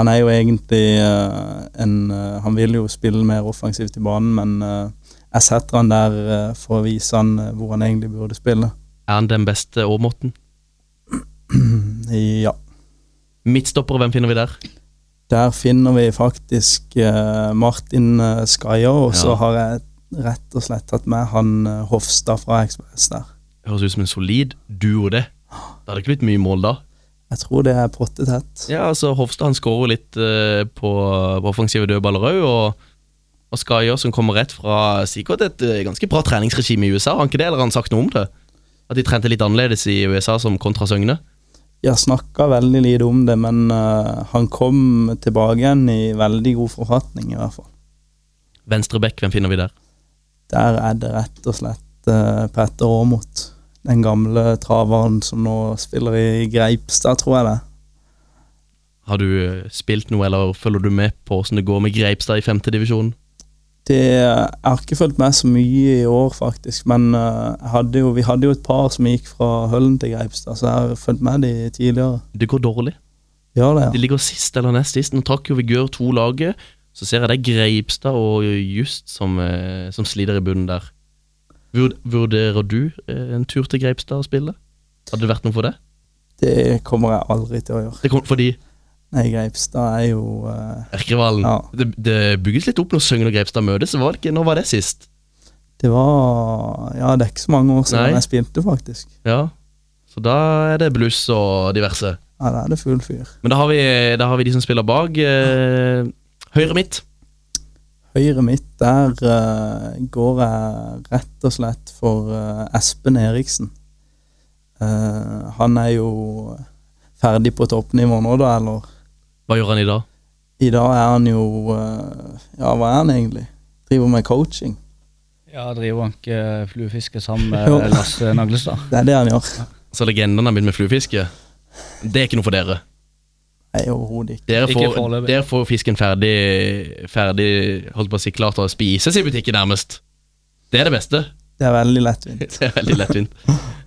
Han er jo egentlig eh, en eh, Han vil jo spille mer offensivt i banen, men eh, jeg setter han der eh, for å vise han eh, hvor han egentlig burde spille. Er han den beste Aamodt? Ja. Midtstopper, hvem finner vi der? Der finner vi faktisk eh, Martin uh, Skaier, og så Ja. har jeg rett og slett tatt med han eh, Hofstad fra Ekspress der. Høres ut som en solid duo, det. Det hadde ikke blitt mye mål da. Jeg tror det er pottet hett. Ja, altså Hofstad han skårer jo litt eh, på, på offensive dødballer òg, og, og Skaier som kommer rett fra sikkert et eh, ganske bra treningsregime i USA, har han ikke det, eller har han sagt noe om det? At de trente litt annerledes i USA som kontra Søgne? Jeg snakka veldig lite om det, men eh, han kom tilbake igjen i veldig god forfatning, i hvert fall. Venstrebekk, hvem finner vi der? Der er det rett og slett eh, Petter Aamodt. Den gamle traveren som nå spiller i Greipstad, tror jeg det. Har du eh, spilt noe, eller følger du med på åssen det går med Greipstad i femtedivisjon? Det, jeg har ikke fulgt med så mye i år, faktisk, men eh, jeg hadde jo, vi hadde jo et par som gikk fra Høllen til Greipstad, så jeg har fulgt med de tidligere. Det går dårlig. Ja, det, De ligger sist eller nest sist. Nå trakk jo Vigør to laget. Så ser jeg det er Greipstad og Just som, eh, som sliter i bunnen der. Vurd- Vurderer du eh, en tur til Greipstad å spille? Hadde det vært noe for det? det kommer jeg aldri til å gjøre. Det kom, fordi Nei, Greipstad er jo eh, Erkerivalen det, det bygges litt opp når Søgne og Greipstad møtes. så Var det ikke, når var det sist? Det var Ja, det er ikke så mange år siden Nei. jeg spilte, faktisk. Ja. Så da er det bluss og diverse. Ja, da er det full fyr. Men da har vi, da har vi de som spiller bak. Eh, høyre midt. Høyre mitt, der eh, går jeg rett og slett for eh, Espen Eriksen. Eh, han er jo ferdig på toppnivå nå, da, eller? Hva gjør han i dag? I dag er han jo eh, Ja, hva er han egentlig? Driver med coaching. Ja, driver han ikke fluefiske sammen Jo. med Lasse Naglestad? Det er det han gjør. Så legendene har begynt med fluefiske. Det er ikke noe for dere. Nei, overhodet ikke. Dere Ikke får, foreløpig. dere får fisken ferdig, ferdig holdt på å si, klar til å spises i butikken nærmest. Det er det beste. Det er veldig lettvint. Det er veldig lettvint.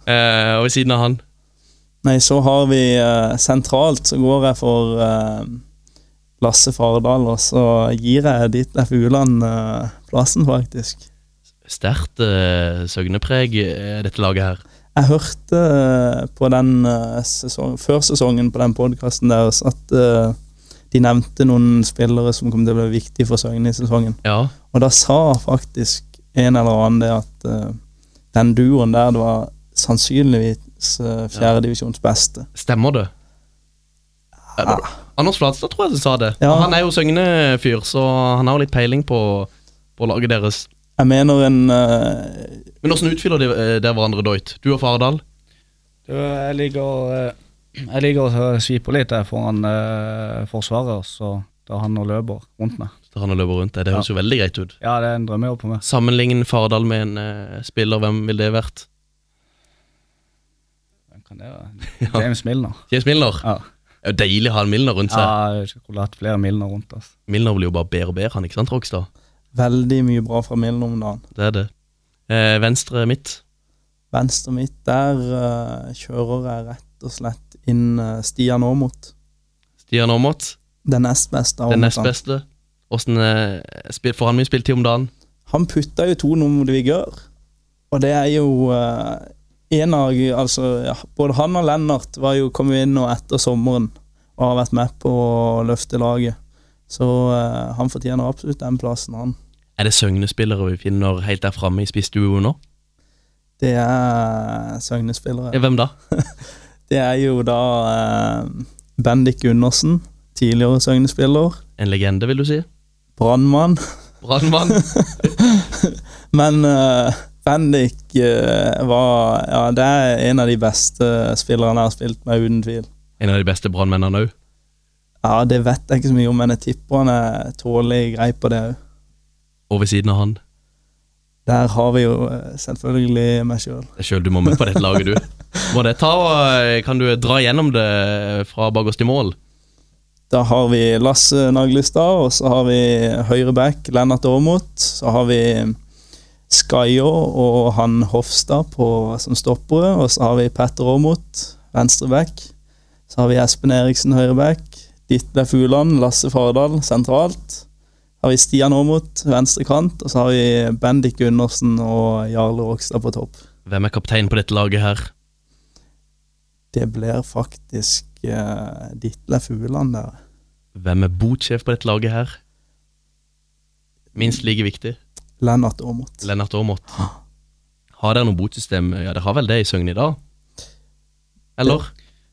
Eh, og ved siden av han Nei, så har vi eh, sentralt, så går jeg for eh, Lasse Fardal, og så gir jeg Ditlev Fugland eh, plassen, faktisk. Sterkt eh, søgnepreg eh, dette laget her. Jeg hørte eh, på den eh, sesong, før sesongen på den podkasten deres at eh, de nevnte noen spillere som kom til å bli viktige for Søgne i sesongen. Ja. Og da sa faktisk en eller annen det at eh, den duoen der det var sannsynligvis uh, fjerdedivisjons beste. Stemmer det? Eh, Anders Flatstad tror jeg som sa det. Ja. Han er jo søgnefyr, så han har jo litt peiling på, på laget deres. Jeg mener en eh, Men åssen utfyller de- eh, dere hverandre, Doit? Du og Fardal? Du, jeg ligger, eh, jeg ligger og sviper litt der foran eh, forsvaret, så tar han og løper rundt meg. Så han og løper rundt deg. Det høres Ja. jo veldig greit ut. Ja, det er en drømmejobb på meg. Sammenlign Fardal med en eh, spiller, hvem ville det vært? Hvem kan det være? James Milner. James Milner? Det er jo deilig å ha en Milner rundt seg. Ja, jeg skulle hatt flere Milner rundt oss. Milner blir jo bare bedre og bedre, han, ikke sant, Rogstad? Veldig mye bra fra Milne om dagen. Det er det. Eh, venstre midt. Venstre mitt, der eh, kjører jeg rett og slett inn eh, Stian Aamodt. Stian Aamodt. Den nest beste. av Den nest Aamotene. beste. Åssen eh, spil- får han mye spiltid om dagen? Han putta jo to noe mot Vigør, og det er jo eh, en av Altså, ja, både han og Lennart var jo kommet inn nå etter sommeren og har vært med på å løfte laget. Så eh, han fortjener absolutt den plassen, han. Er det Søgne-spillere vi finner helt der framme i spissduoen nå? Det er Søgne-spillere. Ja, hvem da? det er jo da eh, Bendik Gundersen, tidligere Søgne-spiller. En legende, vil du si? Brannmann. Brannmann. Men eh, Bendik eh, var Ja, det er en av de beste spillerne jeg har spilt med, uten tvil. En av de beste brannmennene òg. Ja, det vet jeg ikke så mye om, men jeg tipper han er tålelig grei på det òg. Og ved siden av han. Der har vi jo eh, selvfølgelig meg sjøl. Det er sjøl du må med på dette laget, du. Må det ta, og kan du dra gjennom det fra bakerst i mål? Da har vi Lasse Naglestad, og så har vi høyre back Lennart Aamodt. Så har vi Skaio og han Hofstad på, som stoppere, og så har vi Petter Aamodt, venstre back. Så har vi Espen Eriksen høyreback, Ditlev Fuland, Lasse Fardal sentralt. Har vi Stian Aamodt venstre kant, og så har vi Bendik Gundersen og Jarle Rokstad på topp. Hvem er kaptein på dette laget her? Det blir faktisk uh, Ditlev Fuland der. Hvem er botsjef på dette laget her? Minst like viktig. Lennart Aamodt. Lennart Aamodt. Har dere noe botsystem? Ja, dere har vel det i Søgne i dag? Eller?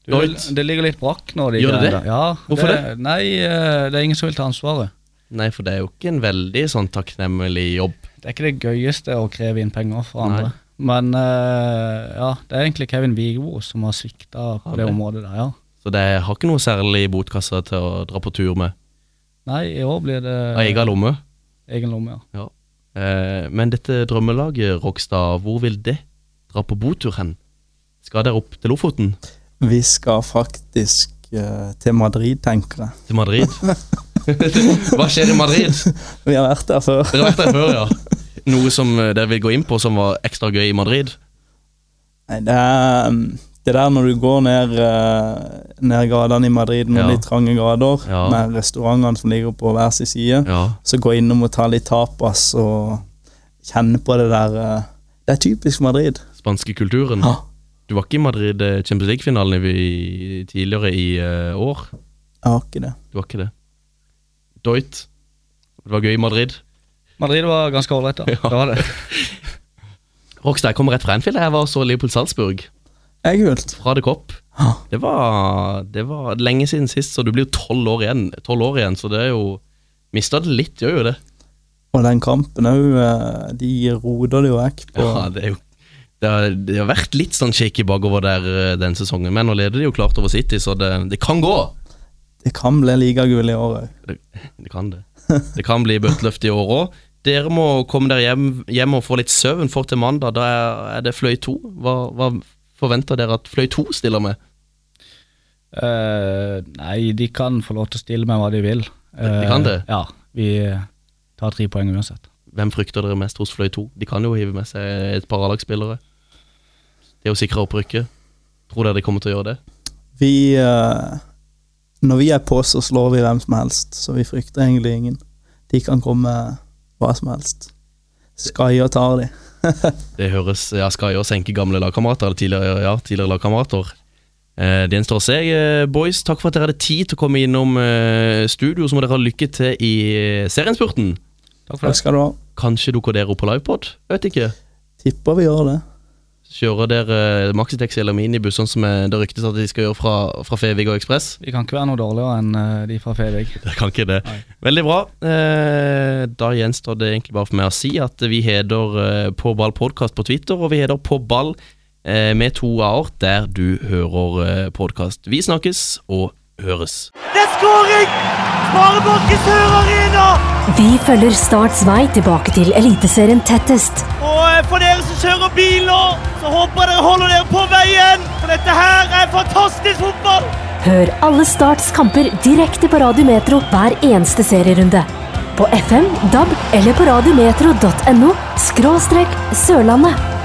Du, det ligger litt brakk nå. De Gjør det greiene det? der. Ja, Hvorfor det? Nei, eh, det er ingen som vil ta ansvaret. Nei, for det er jo ikke en veldig sånn takknemlig jobb. Det er ikke det gøyeste å kreve inn penger fra andre. Men eh, ja, det er egentlig Kevin Vigebo som har svikta på Har det det? området der, ja. Så det har ikke noe særlig i botkassa til å dra på tur med. Nei, i år blir det Av egen lomme. Egen lomme, ja. Ja. Eh, men dette drømmelaget, Rogstad, hvor vil det dra på botur hen? Skal dere opp til Lofoten? Vi skal faktisk eh, til Madrid, tenker jeg. Til Madrid? Hva skjer i Madrid? Vi har vært der før. Dere har vært der før, ja. Noe som eh, dere vil gå inn på som var ekstra gøy i Madrid? Nei, det er um, det der når du går ned, eh, ned gatene i Madrid, noen Ja. litt trange grader, Ja. med restaurantene som ligger på hver sin side, Ja. så gå innom og ta litt tapas og kjenne på det der eh, Det er typisk Madrid. Spanske kulturen? Du var ikke i Madrid eh, Champions League-finalen i- i- tidligere i eh, år? Jeg har ikke det. Du var ikke det? Doit? Det var gøy i Madrid? Madrid var ganske ålreit, da. Det var det. Rockstad, jeg kom rett fra Anfield. Jeg var og så Liverpool Salzburg. Er kult. Fra The Cop. Det var, det var lenge siden sist, så du blir jo tolv år igjen. 12 år igjen, så det er jo Mista det litt, gjør jo det. Og den kampen òg, de roder det jo vekk på Ja, det er jo det har, det har vært litt sånn shaky bakover der eh, den sesongen, men nå leder de jo klart over City, så det, det kan gå. Det kan bli ligagull i år òg. Det, det kan det. Det kan bli bøtteløft i år òg. Dere må komme dere hjem, hjem og få litt søvn, for til mandag da er- er det fløy to. Hva, hva forventer dere at fløy to stiller med? Eh, nei, de kan få lov til å stille med hva de vil. De kan det? Eh, ja, vi tar tre poeng uansett. Hvem frykter dere mest hos fløy to? De kan jo hive med seg et par A-lagsspillere. Det å sikre opprykket. Tror dere de kommer til å gjøre det? Vi eh, Når vi er på, så slår vi hvem som helst, så vi frykter egentlig ingen. De kan komme hva som helst. Skaier tar de. Det høres Ja, skal jo senke gamle lagkamerater, eller tidligere, ja, tidligere lagkamerater. Eh, det gjenstår å se. Eh, boys, takk for at dere hadde tid til å komme innom eh, studio. Så må dere ha lykke til i eh, serienspurten. Takk for det. skal du ha. Kanskje dukker dere opp på livepod? Vet ikke. Tipper vi gjør det. Kjører dere eh, Maxitex eller minibuss, sånn som eh, det ryktes at de skal gjøre fra, fra Fevig og Ekspress? Vi kan ikke være noe dårligere enn eh, de fra Fevig. Jeg kan ikke det. Veldig bra. Eh, da gjenstår det egentlig bare for meg å si at vi heter eh, På ball podkast på Twitter, og vi heter På ball eh, med to a-er der du hører eh, podkast. Vi snakkes og høres. Det er skåring! Sparebanken Sør Arena! Vi følger Starts vei tilbake til Eliteserien tettest. Og eh, for dere som kjører bil nå, så håper jeg dere holder dere på veien. For dette her er fantastisk fotball! Hør alle Starts kamper direkte på Radio Metro hver eneste serierunde. På FM, DAB eller på radiometro.no – skråstrek Sørlandet.